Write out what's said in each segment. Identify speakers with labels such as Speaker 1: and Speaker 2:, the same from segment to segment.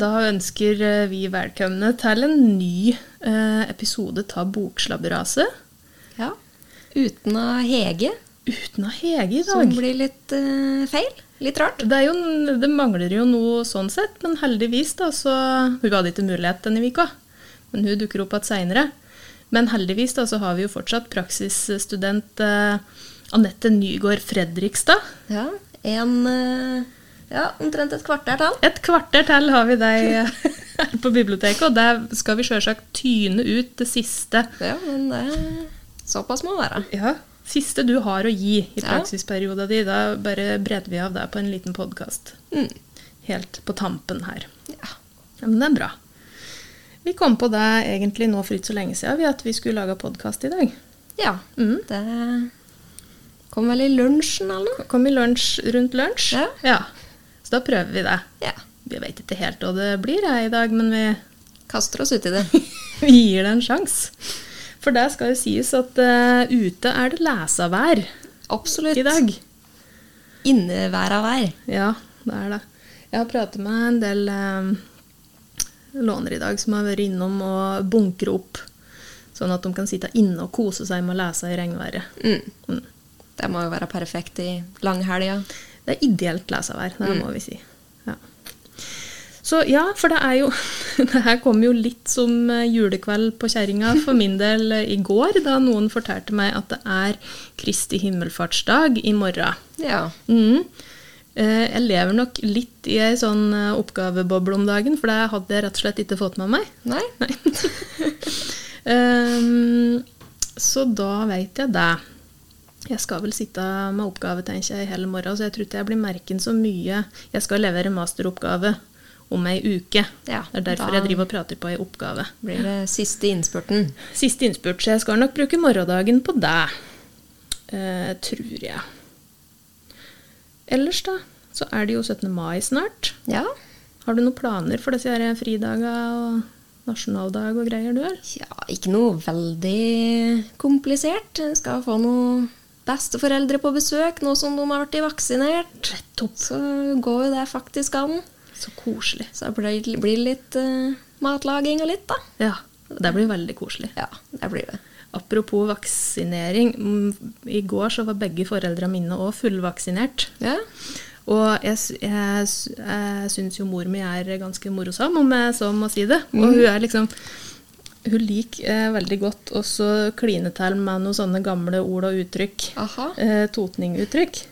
Speaker 1: da ønsker eh, vi velkomne til en ny eh, episode av Bokslabberaset.
Speaker 2: Ja. Uten av Hege,
Speaker 1: Uten av Hege i
Speaker 2: som
Speaker 1: dag.
Speaker 2: blir litt eh, feil. Litt rart.
Speaker 1: Det, er jo, n- det mangler jo noe sånn sett, men heldigvis da, så Hun hadde ikke mulighet denne vika, men hun dukker opp igjen seinere. Men heldigvis da, så har vi jo fortsatt praksisstudent eh, Anette Nygaard Fredrikstad.
Speaker 2: Ja. En eh, Ja, omtrent et kvarter til.
Speaker 1: Et kvarter til har vi deg eh, her på biblioteket, og der skal vi sjølsagt tyne ut det siste.
Speaker 2: Ja, men det såpass må være.
Speaker 1: Ja. Siste du har å gi i
Speaker 2: Ja.
Speaker 1: praksisperioden din, da bare bredder vi av deg på en liten podkast.
Speaker 2: Mm.
Speaker 1: Helt på tampen her.
Speaker 2: Ja.
Speaker 1: Ja, men det er bra. Vi kom på det egentlig nå for ikke så lenge siden vi, at vi skulle lage podkast i dag.
Speaker 2: ja.
Speaker 1: Mm.
Speaker 2: Det kom vel i lunsjen eller noe?
Speaker 1: Kom i lunsj rundt lunsj.
Speaker 2: Ja.
Speaker 1: Så da prøver vi det.
Speaker 2: Ja.
Speaker 1: Vi vet ikke helt hva det blir jeg, i dag, men vi,
Speaker 2: Kaster oss uti det.
Speaker 1: vi gir det en sjanse. For det skal jo sies at eh, ute er det lesavær
Speaker 2: Absolutt.
Speaker 1: i dag.
Speaker 2: Inneværa vær.
Speaker 1: Ja, det er det. Jeg har pratet med en del eh, lånere i dag som har vært innom og bunkre opp, sånn at de kan sitte inne og kose seg med å lese i regnværet.
Speaker 2: Mm.
Speaker 1: Mm.
Speaker 2: Det må jo være perfekt i langhelga.
Speaker 1: Det er ideelt lesevær, det må vi si. Ja. Så ja, for det er jo Det her kom jo litt som eh, julekveld på kjerringa for min del eh, i går, da noen fortalte meg at det er Kristi himmelfartsdag i morgen.
Speaker 2: Ja.
Speaker 1: Mm. Eh, Jeg lever nok litt i ei sånn eh, oppgaveboble om dagen, for det hadde jeg rett og slett ikke fått med meg.
Speaker 2: Nei?
Speaker 1: Nei. Ehm, så da veit jeg det. Jeg skal vel sitte med oppgave tenker jeg, i hele morgen, så jeg tror ikke jeg blir merken så mye. Jeg skal levere masteroppgave om ei uke.
Speaker 2: Ja,
Speaker 1: det er derfor
Speaker 2: da-
Speaker 1: jeg driver og prater på ei oppgave.
Speaker 2: Blir det siste innspurten.
Speaker 1: Siste innspurt, så jeg skal nok bruke morgendagen på det. Eh, tror jeg. Ellers, da, så er det jo 17. mai snart.
Speaker 2: Ja.
Speaker 1: Har du noen planer for disse her fridager og nasjonaldag og greier, du, eller?
Speaker 2: ja. Ikke noe veldig komplisert. En Skal få noen besteforeldre på besøk nå som de har blitt vaksinert. Så går jo det faktisk an.
Speaker 1: Så koselig.
Speaker 2: Så det blir, blir litt eh, matlaging og litt, da.
Speaker 1: Ja, det blir veldig koselig.
Speaker 2: Ja, det blir det.
Speaker 1: Apropos vaksinering. mm, I går så var begge foreldra mine òg fullvaksinert.
Speaker 2: Ja.
Speaker 1: Og jeg, s- jeg, s- jeg syns jo mor mi er ganske morosam, om jeg så må si det. Og hun er liksom Hun liker eh, veldig godt også kline til med noen sånne gamle ord og uttrykk.
Speaker 2: Aha.
Speaker 1: Eh, Totning-uttrykk.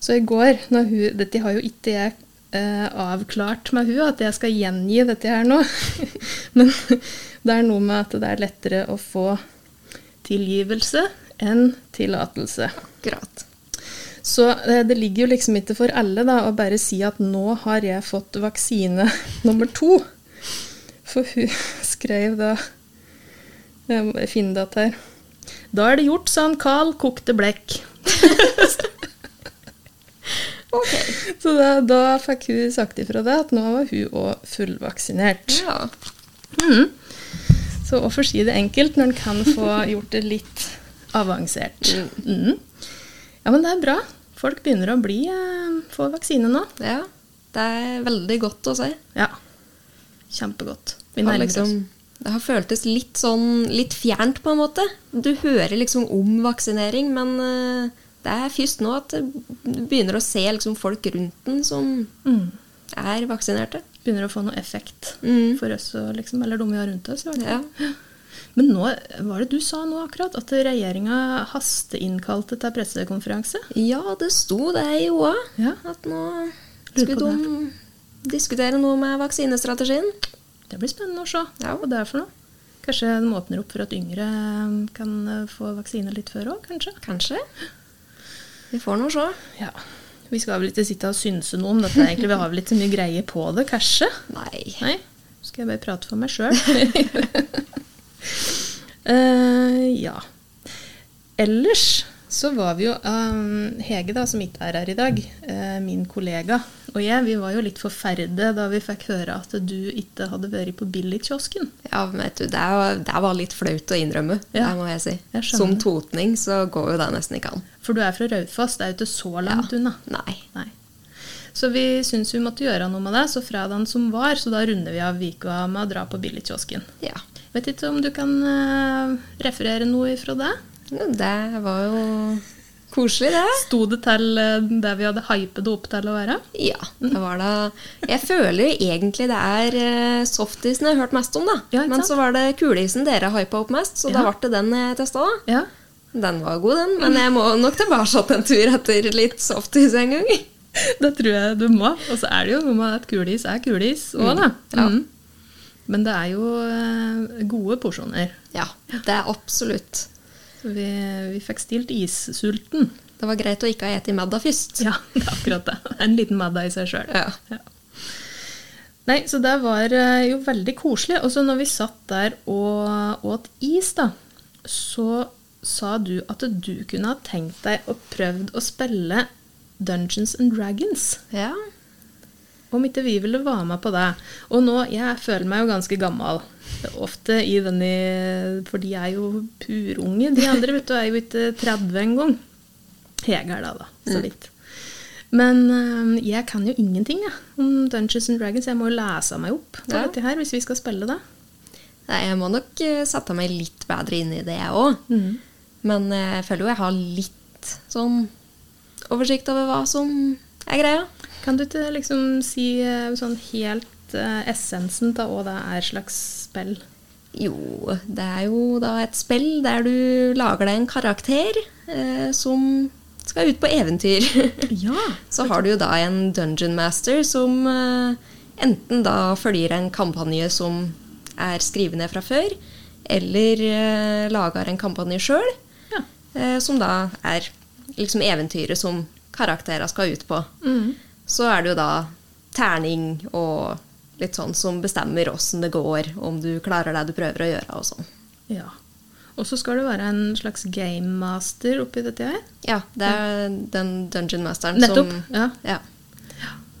Speaker 1: Så i går, når hun Dette har jo ikke jeg eh, avklart med hun, at jeg skal gjengi dette her nå. Men det er noe med at det er lettere å få tilgivelse enn tillatelse.
Speaker 2: Akkurat.
Speaker 1: Så eh, det ligger jo liksom ikke for alle da, å bare si at nå har jeg fått vaksine nummer to. For hun skrev da Jeg må bare finne det att her. Da er det gjort, sa han Carl, kokte blekk.
Speaker 2: Ok.
Speaker 1: Så da, da fikk hun sagt ifra det at nå var hun òg fullvaksinert.
Speaker 2: Ja.
Speaker 1: Mhm. Så hvorfor si det enkelt når en kan få gjort det litt avansert? Mhm. Ja, men det er bra. Folk begynner å bli, eh, få vaksine nå.
Speaker 2: ja. Det er veldig godt å se.
Speaker 1: Ja. Kjempegodt. Vi
Speaker 2: Har
Speaker 1: nærmer
Speaker 2: liksom,
Speaker 1: oss.
Speaker 2: Det har føltes litt sånn litt fjernt, på en måte. Du hører liksom om vaksinering, men eh, det er først nå at du begynner å se liksom folk rundt den som
Speaker 1: Mm.
Speaker 2: er vaksinerte.
Speaker 1: Begynner å få noe effekt
Speaker 2: Mm.
Speaker 1: for oss, og liksom, eller de vi har rundt oss. i hvert fall.
Speaker 2: Ja.
Speaker 1: Men nå, var det du sa nå akkurat, at regjeringa hasteinnkalte til pressekonferanse?
Speaker 2: ja, det sto det i OA
Speaker 1: Ja.
Speaker 2: at nå
Speaker 1: Lurer på
Speaker 2: skulle de diskutere noe med vaksinestrategien.
Speaker 1: Det blir spennende å se
Speaker 2: Ja.
Speaker 1: hva det er for noe. Kanskje de åpner opp for at yngre eh, kan eh, få vaksine litt før òg, kanskje?
Speaker 2: Kanskje. Vi får nå se.
Speaker 1: Ja. Vi skal vel ikke sitte og synse noe om dette, egentlig. Vi har vel ikke så mye greie på det, kanskje?
Speaker 2: Nei.
Speaker 1: Nei, nå skal jeg bare prate for meg sjøl. Eh, ja. Ellers så var vi jo eh, Hege, da, som ikke er her i dag, eh, min kollega og jeg, vi var jo litt forferde da vi fikk høre at du ikke hadde vært på billigkiosken.
Speaker 2: Ja, vet du, det, var- det var litt flaut å innrømme,
Speaker 1: Ja.
Speaker 2: det må jeg si.
Speaker 1: Jeg skjønner.
Speaker 2: Som totning så går jo det nesten ikke an.
Speaker 1: For du er fra Raufoss, det er jo ikke så langt unna.
Speaker 2: Nei.
Speaker 1: Nei. Så vi syns vi måtte gjøre noe med det, så fredagen som var, så da runder vi av vika med å dra på billigkiosken.
Speaker 2: Ja.
Speaker 1: Vet ikke om du kan eh, referere noe ifra det?
Speaker 2: Jo, Det var jo koselig, det.
Speaker 1: Sto det til eh, det vi hadde hypet det opp til å være?
Speaker 2: Ja, det var da Jeg føler jo egentlig det er eh, softisen jeg har hørt mest om, da.
Speaker 1: Ja, ikke
Speaker 2: Men
Speaker 1: sant?
Speaker 2: så var det kulisen dere hypa opp mest, så da
Speaker 1: Ja.
Speaker 2: ble det den jeg testa, da.
Speaker 1: Ja.
Speaker 2: Den var god, den, men jeg må nok tilbake en tur etter litt softis en gang.
Speaker 1: Det tror jeg du må. Og så er det jo noe med at kulis er kulis òg, da.
Speaker 2: Ja.
Speaker 1: Mm. Men det er jo eh, gode porsjoner.
Speaker 2: Ja, det er absolutt.
Speaker 1: Så vi, vi fikk stilt issulten.
Speaker 2: Det var greit å ikke ha spist middag først.
Speaker 1: Ja, det er akkurat det. Det er En liten middag i seg sjøl.
Speaker 2: Ja.
Speaker 1: Nei, så det var eh, jo veldig koselig. Og så når vi satt der og åt is, da, så sa du at du kunne ha tenkt deg og prøvd å spille Dungeons and Dragons.
Speaker 2: Ja.
Speaker 1: Om ikke vi ville være med på det. Og nå, jeg føler meg jo ganske gammel. Ofte i denne For de er jo purunge. De andre vet du, er jo ikke 30 engang. Jeg er da, da. Så vidt. Men eh, jeg kan jo ingenting jeg, om Dungeons and Dragons. Jeg må jo lese meg opp på
Speaker 2: Ja.
Speaker 1: dette her hvis vi skal spille det.
Speaker 2: Nei, jeg må nok eh, sette meg litt bedre inn i det, jeg òg. Men eh, jeg føler jo jeg har litt sånn oversikt over hva som er greia.
Speaker 1: Kan du ikke liksom si eh, sånn helt eh, essensen av hva det er slags spill?
Speaker 2: Jo, det er jo da et spill der du lager deg en karakter eh, som skal ut på eventyr.
Speaker 1: Ja!
Speaker 2: Så har du jo da en dungeon master som eh, enten da følger en kampanje som er skrevet ned fra før, eller eh, lager en kampanje sjøl,
Speaker 1: ja.
Speaker 2: eh, som da er liksom eventyret som karakterene skal ut på.
Speaker 1: Mm.
Speaker 2: Så er det jo da terning og litt sånn som bestemmer åssen det går, om du klarer det du prøver å gjøre og sånn.
Speaker 1: Ja. Og så skal du være en slags gamemaster oppi dette her.
Speaker 2: Ja, det er den dungeon masteren
Speaker 1: Nettopp.
Speaker 2: som
Speaker 1: Ja.
Speaker 2: ja,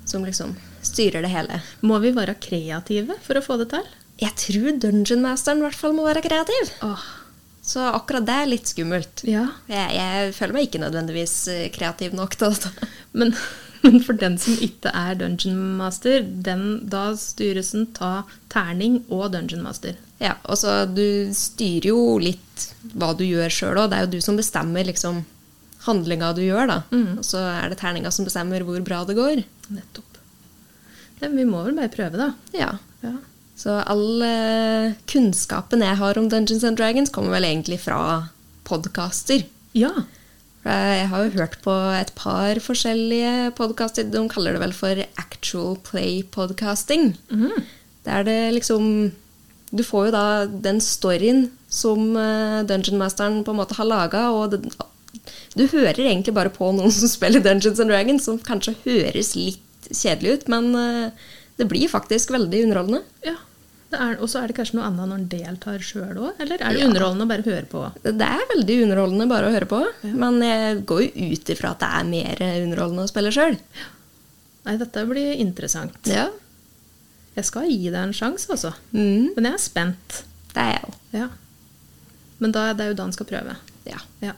Speaker 2: Som liksom styrer det hele.
Speaker 1: Må vi være kreative for å få det til?
Speaker 2: Jeg tror Dungeon Masteren i hvert fall må være kreativ.
Speaker 1: Åh,
Speaker 2: Så akkurat det er litt skummelt.
Speaker 1: ja.
Speaker 2: Jeg, jeg føler meg ikke nødvendigvis eh, kreativ nok til dette.
Speaker 1: Men, men for den som ikke er dungeon master, den, da styres den ta terning og dungeon master.
Speaker 2: Ja, og så du styrer jo litt hva du gjør sjøl òg. Det er jo du som bestemmer liksom handlinga du gjør, da. Og så er det terninga som bestemmer hvor bra det går.
Speaker 1: Nettopp. Nei, men vi må vel bare prøve, da.
Speaker 2: Ja.
Speaker 1: Ja.
Speaker 2: Så all eh, kunnskapen jeg har om Dungeons and Dragons, kommer vel egentlig fra podkaster.
Speaker 1: ja.
Speaker 2: For Eh, Jeg har jo hørt på et par forskjellige podkaster. De kaller det vel for actual play podcasting. Der det liksom Du får jo da den storyen som eh, Dungeon Masteren på en måte har laga, og det, du hører egentlig bare på noen som spiller Dungeons and Dragons, som kanskje høres litt kjedelig ut, men eh, det blir faktisk veldig underholdende.
Speaker 1: ja. Det er- Og så er det kanskje noe annet når en deltar sjøl òg? Eller er det
Speaker 2: Ja.
Speaker 1: underholdende å bare høre på?
Speaker 2: Det er veldig underholdende bare å høre på, men jeg går jo ut ifra at det er mer eh, underholdende å spille sjøl.
Speaker 1: Nei, dette blir interessant.
Speaker 2: Ja.
Speaker 1: Jeg skal gi deg en sjanse, altså.
Speaker 2: Mm,
Speaker 1: Men jeg er spent.
Speaker 2: det er jeg òg.
Speaker 1: Ja. Men da, det er jo da han skal prøve.
Speaker 2: Ja.
Speaker 1: Ja.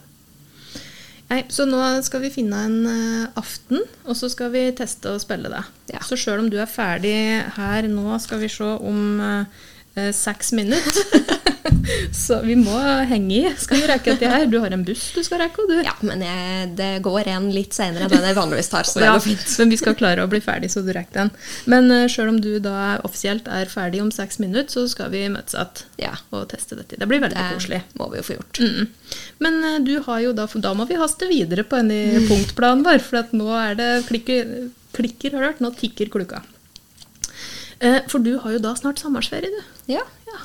Speaker 1: Nei, så nå skal vi finne en eh, aften, og så skal vi teste og spille det.
Speaker 2: Ja.
Speaker 1: Så sjøl om du er ferdig her nå, skal vi se om eh, eh, seks minutter. så vi må henge i. Skal vi rekke dette her? Du har en buss du skal rekke, og du.
Speaker 2: ja, men jeg, det går en litt seinere enn den jeg vanligvis tar, så det
Speaker 1: Ja,
Speaker 2: går fint.
Speaker 1: men vi skal klare å bli ferdig, så du rekker den. Men uh, sjøl om du da offisielt er ferdig om seks minutter, så skal vi møtes igjen
Speaker 2: Ja,
Speaker 1: og teste dette. Det blir veldig
Speaker 2: det
Speaker 1: koselig.
Speaker 2: må vi jo få gjort.
Speaker 1: Mm. Men eh, du har jo da, for da må vi haste videre på
Speaker 2: Mm.
Speaker 1: denne punktplanen vår, for at nå er det klikker, klikker har du hørt, nå tikker klukka. Eh, For du har jo da snart sommerferie, du.
Speaker 2: Ja,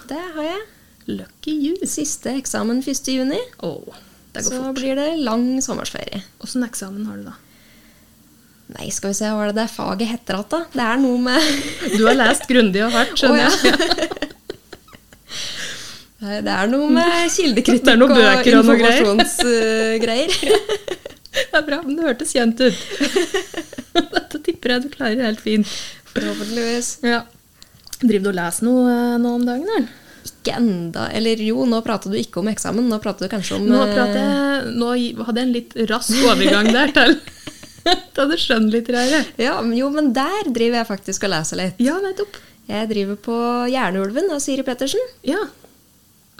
Speaker 2: det har jeg.
Speaker 1: Lucky you.
Speaker 2: Siste eksamen 1. juni.
Speaker 1: Åh, det går
Speaker 2: Så
Speaker 1: fort.
Speaker 2: blir det lang sommerferie.
Speaker 1: Åssen eksamen har du da?
Speaker 2: Nei, skal vi se, hva er det det faget heter igjen, da? Det er noe med
Speaker 1: Du har lest grundig og hardt, skjønner
Speaker 2: Å,
Speaker 1: jeg.
Speaker 2: Nei, Det er noe med kildekritikk
Speaker 1: Det er noen bøker og noe greier.
Speaker 2: informasjonsgreier.
Speaker 1: Det er bra, men det hørtes kjent ut. Dette tipper jeg du klarer helt fint.
Speaker 2: Forhåpentligvis.
Speaker 1: Ja. Driver du og leser noe eh, nå om dagen, eller?
Speaker 2: Ikke enda Eller jo, nå prater du ikke om eksamen, nå prater du kanskje om
Speaker 1: Nå,
Speaker 2: eh,
Speaker 1: prater jeg, nå gi- hadde jeg en litt rask overgang der til Da hadde du skjønt litterære.
Speaker 2: eh, Ja, men- jo, men der driver jeg faktisk og leser litt.
Speaker 1: Ja, nettopp.
Speaker 2: Jeg driver på Jernulven av Siri Pettersen.
Speaker 1: Ja.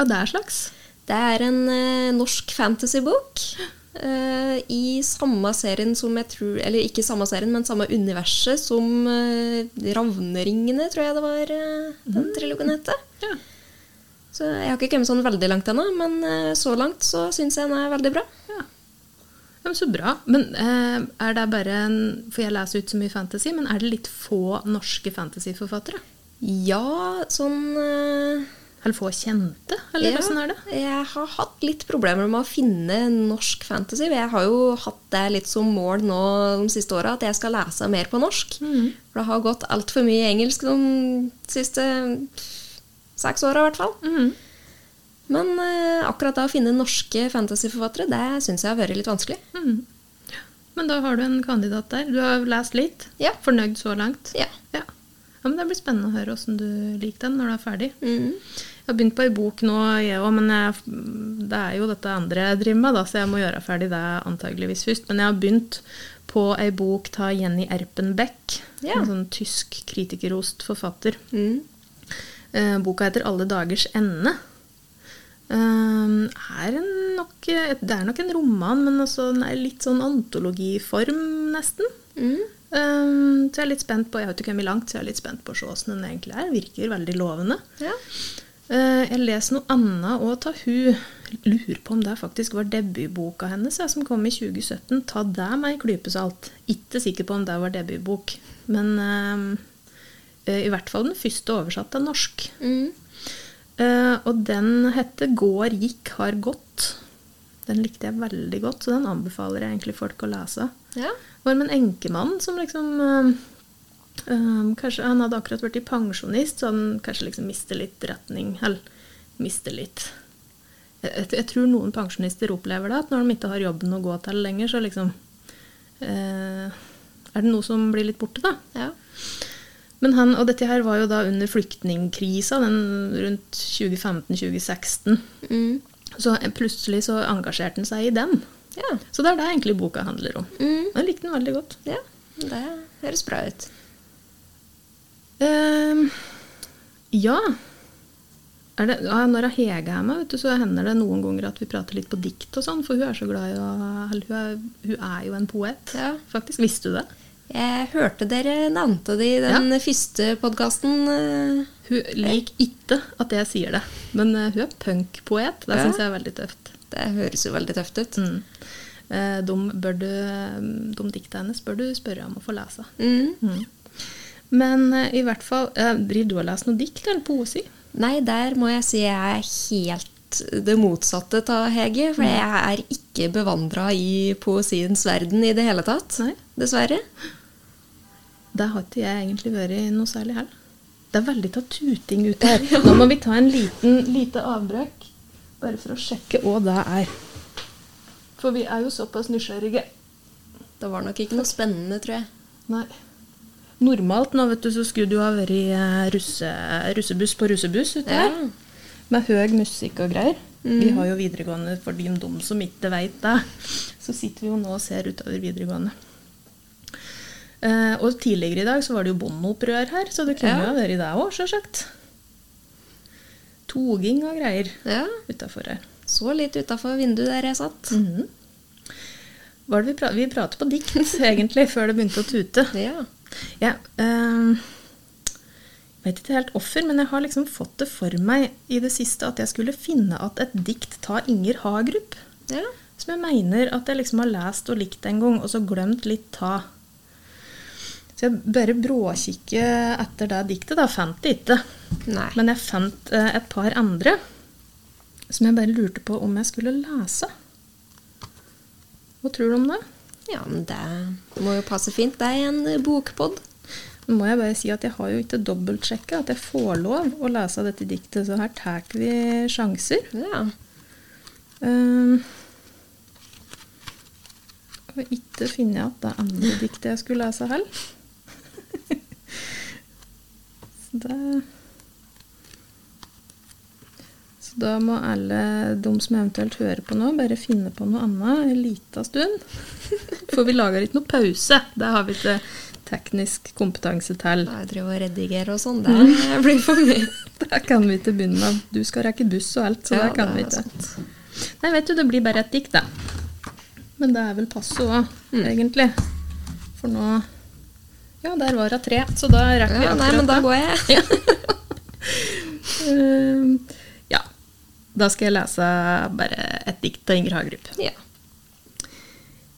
Speaker 1: Av det slags.
Speaker 2: Det er en eh, norsk fantasybok eh, i samme serien som jeg tror Eller ikke samme serien, men samme universet som eh, Ravneringene, tror jeg det var eh, den trilogien het.
Speaker 1: Ja.
Speaker 2: Så jeg har ikke kommet sånn veldig langt ennå, men eh, så langt så syns jeg den er veldig bra.
Speaker 1: Ja. ja men så bra. Men eh, er det bare en For jeg leser ut så mye fantasy, men er det litt få norske fantasyforfattere?
Speaker 2: Ja, sånn eh,
Speaker 1: Eller få kjente? Eller åssen er det?
Speaker 2: Jeg har hatt litt problemer med å finne norsk fantasy. Jeg har jo hatt det litt som mål nå de siste åra, at jeg skal lese mer på norsk.
Speaker 1: Mm.
Speaker 2: For det har gått altfor mye engelsk de siste seks åra, i hvert fall.
Speaker 1: Mhm,
Speaker 2: Men eh, akkurat det å finne norske fantasyforfattere, det syns jeg har vært litt vanskelig.
Speaker 1: Mm. Men da har du en kandidat der. Du har lest litt?
Speaker 2: Ja.
Speaker 1: Fornøyd så langt?
Speaker 2: Ja.
Speaker 1: ja. Ja, men Det blir spennende å høre åssen du liker den når du er ferdig.
Speaker 2: Mhm.
Speaker 1: Jeg har begynt på ei bok nå, jeg òg, men jeg, det er jo dette andre jeg driver med, da, så jeg må gjøre ferdig det antageligvis først. Men jeg har begynt på ei bok av Jenny Erpenbeck,
Speaker 2: Ja.
Speaker 1: en sånn tysk kritikerrost forfatter.
Speaker 2: Mhm.
Speaker 1: Eh, boka heter 'Alle dagers ende'. Um, er en nok, det er nok en roman, men også, den er litt sånn antologiform, nesten.
Speaker 2: Mhm.
Speaker 1: Um, så jeg er litt spent på Jeg har ikke kommet langt, så jeg er litt spent på å se åssen den egentlig er. Virker veldig lovende.
Speaker 2: Ja.
Speaker 1: Eh, jeg leser noe annet òg av hun. Lurer på om det faktisk var debutboka hennes jeg, som kom i 2017. Ta det med ei klype salt. Ikke sikker på om det var debutbok. Men eh, eh, i hvert fall den første oversatt av norsk.
Speaker 2: Mhm.
Speaker 1: Eh, og den heter 'Går gikk har gått'. Den likte jeg veldig godt, så den anbefaler jeg egentlig folk å lese.
Speaker 2: ja.
Speaker 1: Det var om en enkemann som liksom eh, eh, kanskje, Han hadde akkurat blitt pensjonist, så han kanskje liksom mister litt retning. Eller mister litt jeg, jeg, jeg tror noen pensjonister opplever det, at når de ikke har jobben å gå til lenger, så liksom eh, Er det noe som blir litt borte, da?
Speaker 2: Ja.
Speaker 1: Men han, og dette her var jo da under flyktningkrisa, den rundt 2015-2016.
Speaker 2: Mhm.
Speaker 1: Så plutselig så engasjerte han seg i den.
Speaker 2: ja.
Speaker 1: Så det er det egentlig boka handler om.
Speaker 2: Mhm.
Speaker 1: Jeg likte den veldig godt.
Speaker 2: Ja. Det høres bra ut.
Speaker 1: Ehm, ja. Er det, ja, når Hege er med, vet du, så hender det noen ganger at vi prater litt på dikt og sånn, for hun er så glad i å eller Hun er, hun er jo en poet,
Speaker 2: Ja.
Speaker 1: faktisk. Visste du det?
Speaker 2: Jeg hørte dere nevnte det i den første podkasten.
Speaker 1: Hun liker ikke at jeg sier det, men eh, hun er punkpoet. Det
Speaker 2: Ja.
Speaker 1: syns jeg er veldig tøft.
Speaker 2: Det høres jo veldig tøft ut.
Speaker 1: Mm. Eh, De, bør du, de dikta hennes bør du spørre om å få lese.
Speaker 2: Mm.
Speaker 1: Men eh, i hvert fall, eh, driver du og leser noe dikt eller poesi?
Speaker 2: Nei, der må jeg si jeg er helt det motsatte av Hege. For
Speaker 1: Mm.
Speaker 2: jeg er ikke bevandra i poesiens verden i det hele tatt.
Speaker 1: Nei.
Speaker 2: Dessverre.
Speaker 1: Det har ikke jeg egentlig vært noe særlig heller. Det er veldig av tuting ute her. Nå må vi ta en liten, lite avbrekk, bare for å sjekke hva det er. For vi er jo såpass nysgjerrige.
Speaker 2: Det var nok ikke noe spennende, tror jeg.
Speaker 1: Nei. Normalt nå, vet du, så skulle du ha vært eh, russe, russebuss på russebuss ute her.
Speaker 2: Ja.
Speaker 1: Med høy musikk og greier. Vi har jo videregående for de, de som ikke veit det. Så sitter vi jo nå og ser utover videregående. Eh, og tidligere i dag så var det jo bondeopprør her, så det kunne
Speaker 2: Ja.
Speaker 1: jo ha vært det òg, sjølsagt. Toging og greier
Speaker 2: Ja.
Speaker 1: utafor her.
Speaker 2: Så litt utafor vinduet der jeg satt.
Speaker 1: Mhm. Hva er det vi, pra vi prater på dikt, egentlig, før det begynte å tute.
Speaker 2: Ja.
Speaker 1: Ja, ehm, jeg vet ikke helt hvorfor, men jeg har liksom fått det for meg i det siste at jeg skulle finne at et dikt ta Inger Hagerup,
Speaker 2: ja.
Speaker 1: som jeg mener at jeg liksom har lest og likt en gang, og så glemt litt ta. Så jeg bare bråkikke etter det diktet, da fant jeg ikke.
Speaker 2: Nei.
Speaker 1: Men jeg fant eh, et par andre som jeg bare lurte på om jeg skulle lese. Hva tror du om det?
Speaker 2: Ja, men det må jo passe fint. Det er en bokpod.
Speaker 1: Nå må jeg bare si at jeg har jo ikke dobbeltsjekka at jeg får lov å lese dette diktet, så her tar vi sjanser.
Speaker 2: Ja.
Speaker 1: Um, og ikke finner jeg at det andre diktet jeg skulle lese heller. så det Så da må alle de som eventuelt hører på nå, bare finne på noe annet en lita stund. For vi lager ikke noe pause. Det har vi ikke teknisk kompetanse til.
Speaker 2: Bare drive og redigere og sånn,
Speaker 1: Mm.
Speaker 2: det blir for mye.
Speaker 1: Det kan vi ikke begynne med. Du skal rekke buss og alt, så
Speaker 2: Ja,
Speaker 1: det kan
Speaker 2: det
Speaker 1: vi
Speaker 2: er
Speaker 1: ikke.
Speaker 2: sant.
Speaker 1: Nei, vet du, det blir bare et dikt, da. Men det er vel passe òg,
Speaker 2: Mm.
Speaker 1: egentlig. For nå Ja, der var hun tre, så da rekker vi
Speaker 2: Ja, nei, men da går jeg.
Speaker 1: Eh, ja. Da skal jeg lese bare et dikt av Inger Hagerup.
Speaker 2: Ja.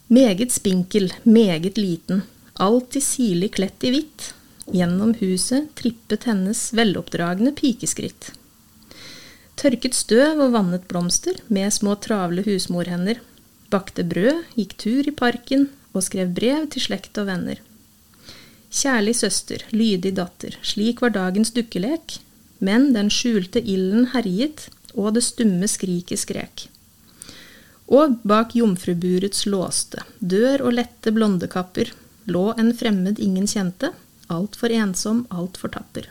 Speaker 1: Meget spinkel, meget liten, alltid sirlig kledd i hvitt. Gjennom huset trippet hennes veloppdragne pikeskritt. Tørket støv og vannet blomster med små travle husmorhender. Bakte brød, gikk tur i parken og skrev brev til slekt og venner. Kjærlig søster, lydig datter, slik var dagens dukkelek. Men den skjulte ilden herjet, og det stumme skriket skrek. Og bak jomfruburets låste dør og lette blondekapper lå en fremmed ingen kjente, altfor ensom, altfor tapper.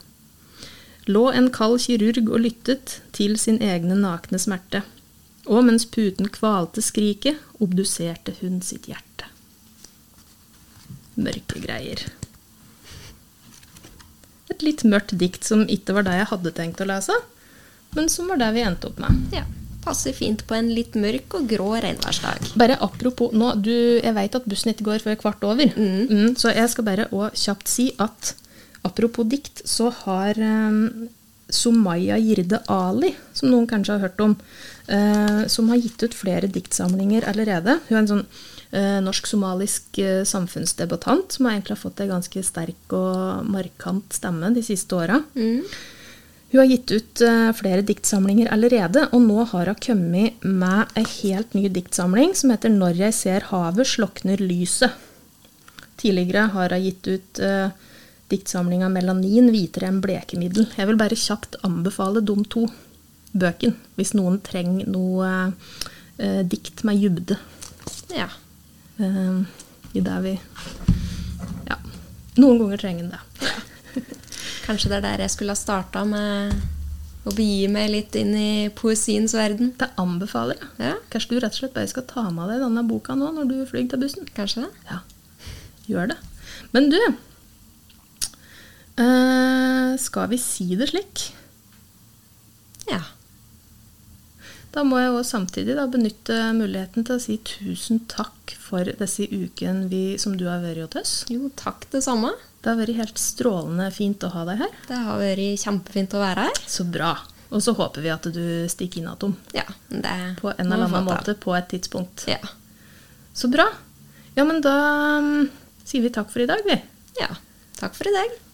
Speaker 1: Lå en kald kirurg og lyttet til sin egne nakne smerte. Og mens puten kvalte skriket, obduserte hun sitt hjerte. Mørke greier. Et litt mørkt dikt som ikke var det jeg hadde tenkt å lese, men som var det vi endte opp med.
Speaker 2: ja. Passer fint på en litt mørk og grå regnværsdag.
Speaker 1: Bare apropos nå, du, jeg vet at bussen ikke går før kvart over, Mm, så jeg skal bare også kjapt si at apropos dikt, så har um, Somaya Jirde Ali, som noen kanskje har hørt om, eh, som har gitt ut flere diktsamlinger allerede. Hun er en sånn eh, norsk-somalisk eh, samfunnsdebattant som har egentlig har fått en ganske sterk og markant stemme de siste åra. Hun har gitt ut eh, flere diktsamlinger allerede, og nå har hun kommet med ei helt ny diktsamling som heter 'Når jeg ser havet slokner lyset'. Tidligere har hun gitt ut eh, diktsamlinga 'Melanin hvitere enn blekemiddel'. Jeg vil bare kjapt anbefale de to bøkene, hvis noen trenger noe eh, dikt med dybde
Speaker 2: Ja.
Speaker 1: eh, i det vi Ja, noen ganger trenger en det.
Speaker 2: Kanskje det er der jeg skulle ha starta med å begi meg litt inn i poesiens verden.
Speaker 1: Det anbefaler jeg.
Speaker 2: Ja,
Speaker 1: Kanskje du rett og slett bare skal ta med deg denne boka nå når du flyr til bussen?
Speaker 2: kanskje det.
Speaker 1: Ja, gjør det. Men du eh, Skal vi si det slik?
Speaker 2: Ja.
Speaker 1: Da må jeg også samtidig da benytte muligheten til å si tusen takk for disse ukene vi, som du har vært hos oss.
Speaker 2: Jo, takk det samme.
Speaker 1: Det har vært helt strålende fint å ha deg her.
Speaker 2: Det har vært kjempefint å være her.
Speaker 1: Så bra. Og så håper vi at du stikker innatom
Speaker 2: Ja, men det
Speaker 1: på en eller annen måte på et tidspunkt.
Speaker 2: Ja.
Speaker 1: Så bra. Ja, men da mm, sier vi takk for i dag, vi.
Speaker 2: ja. Takk for i dag.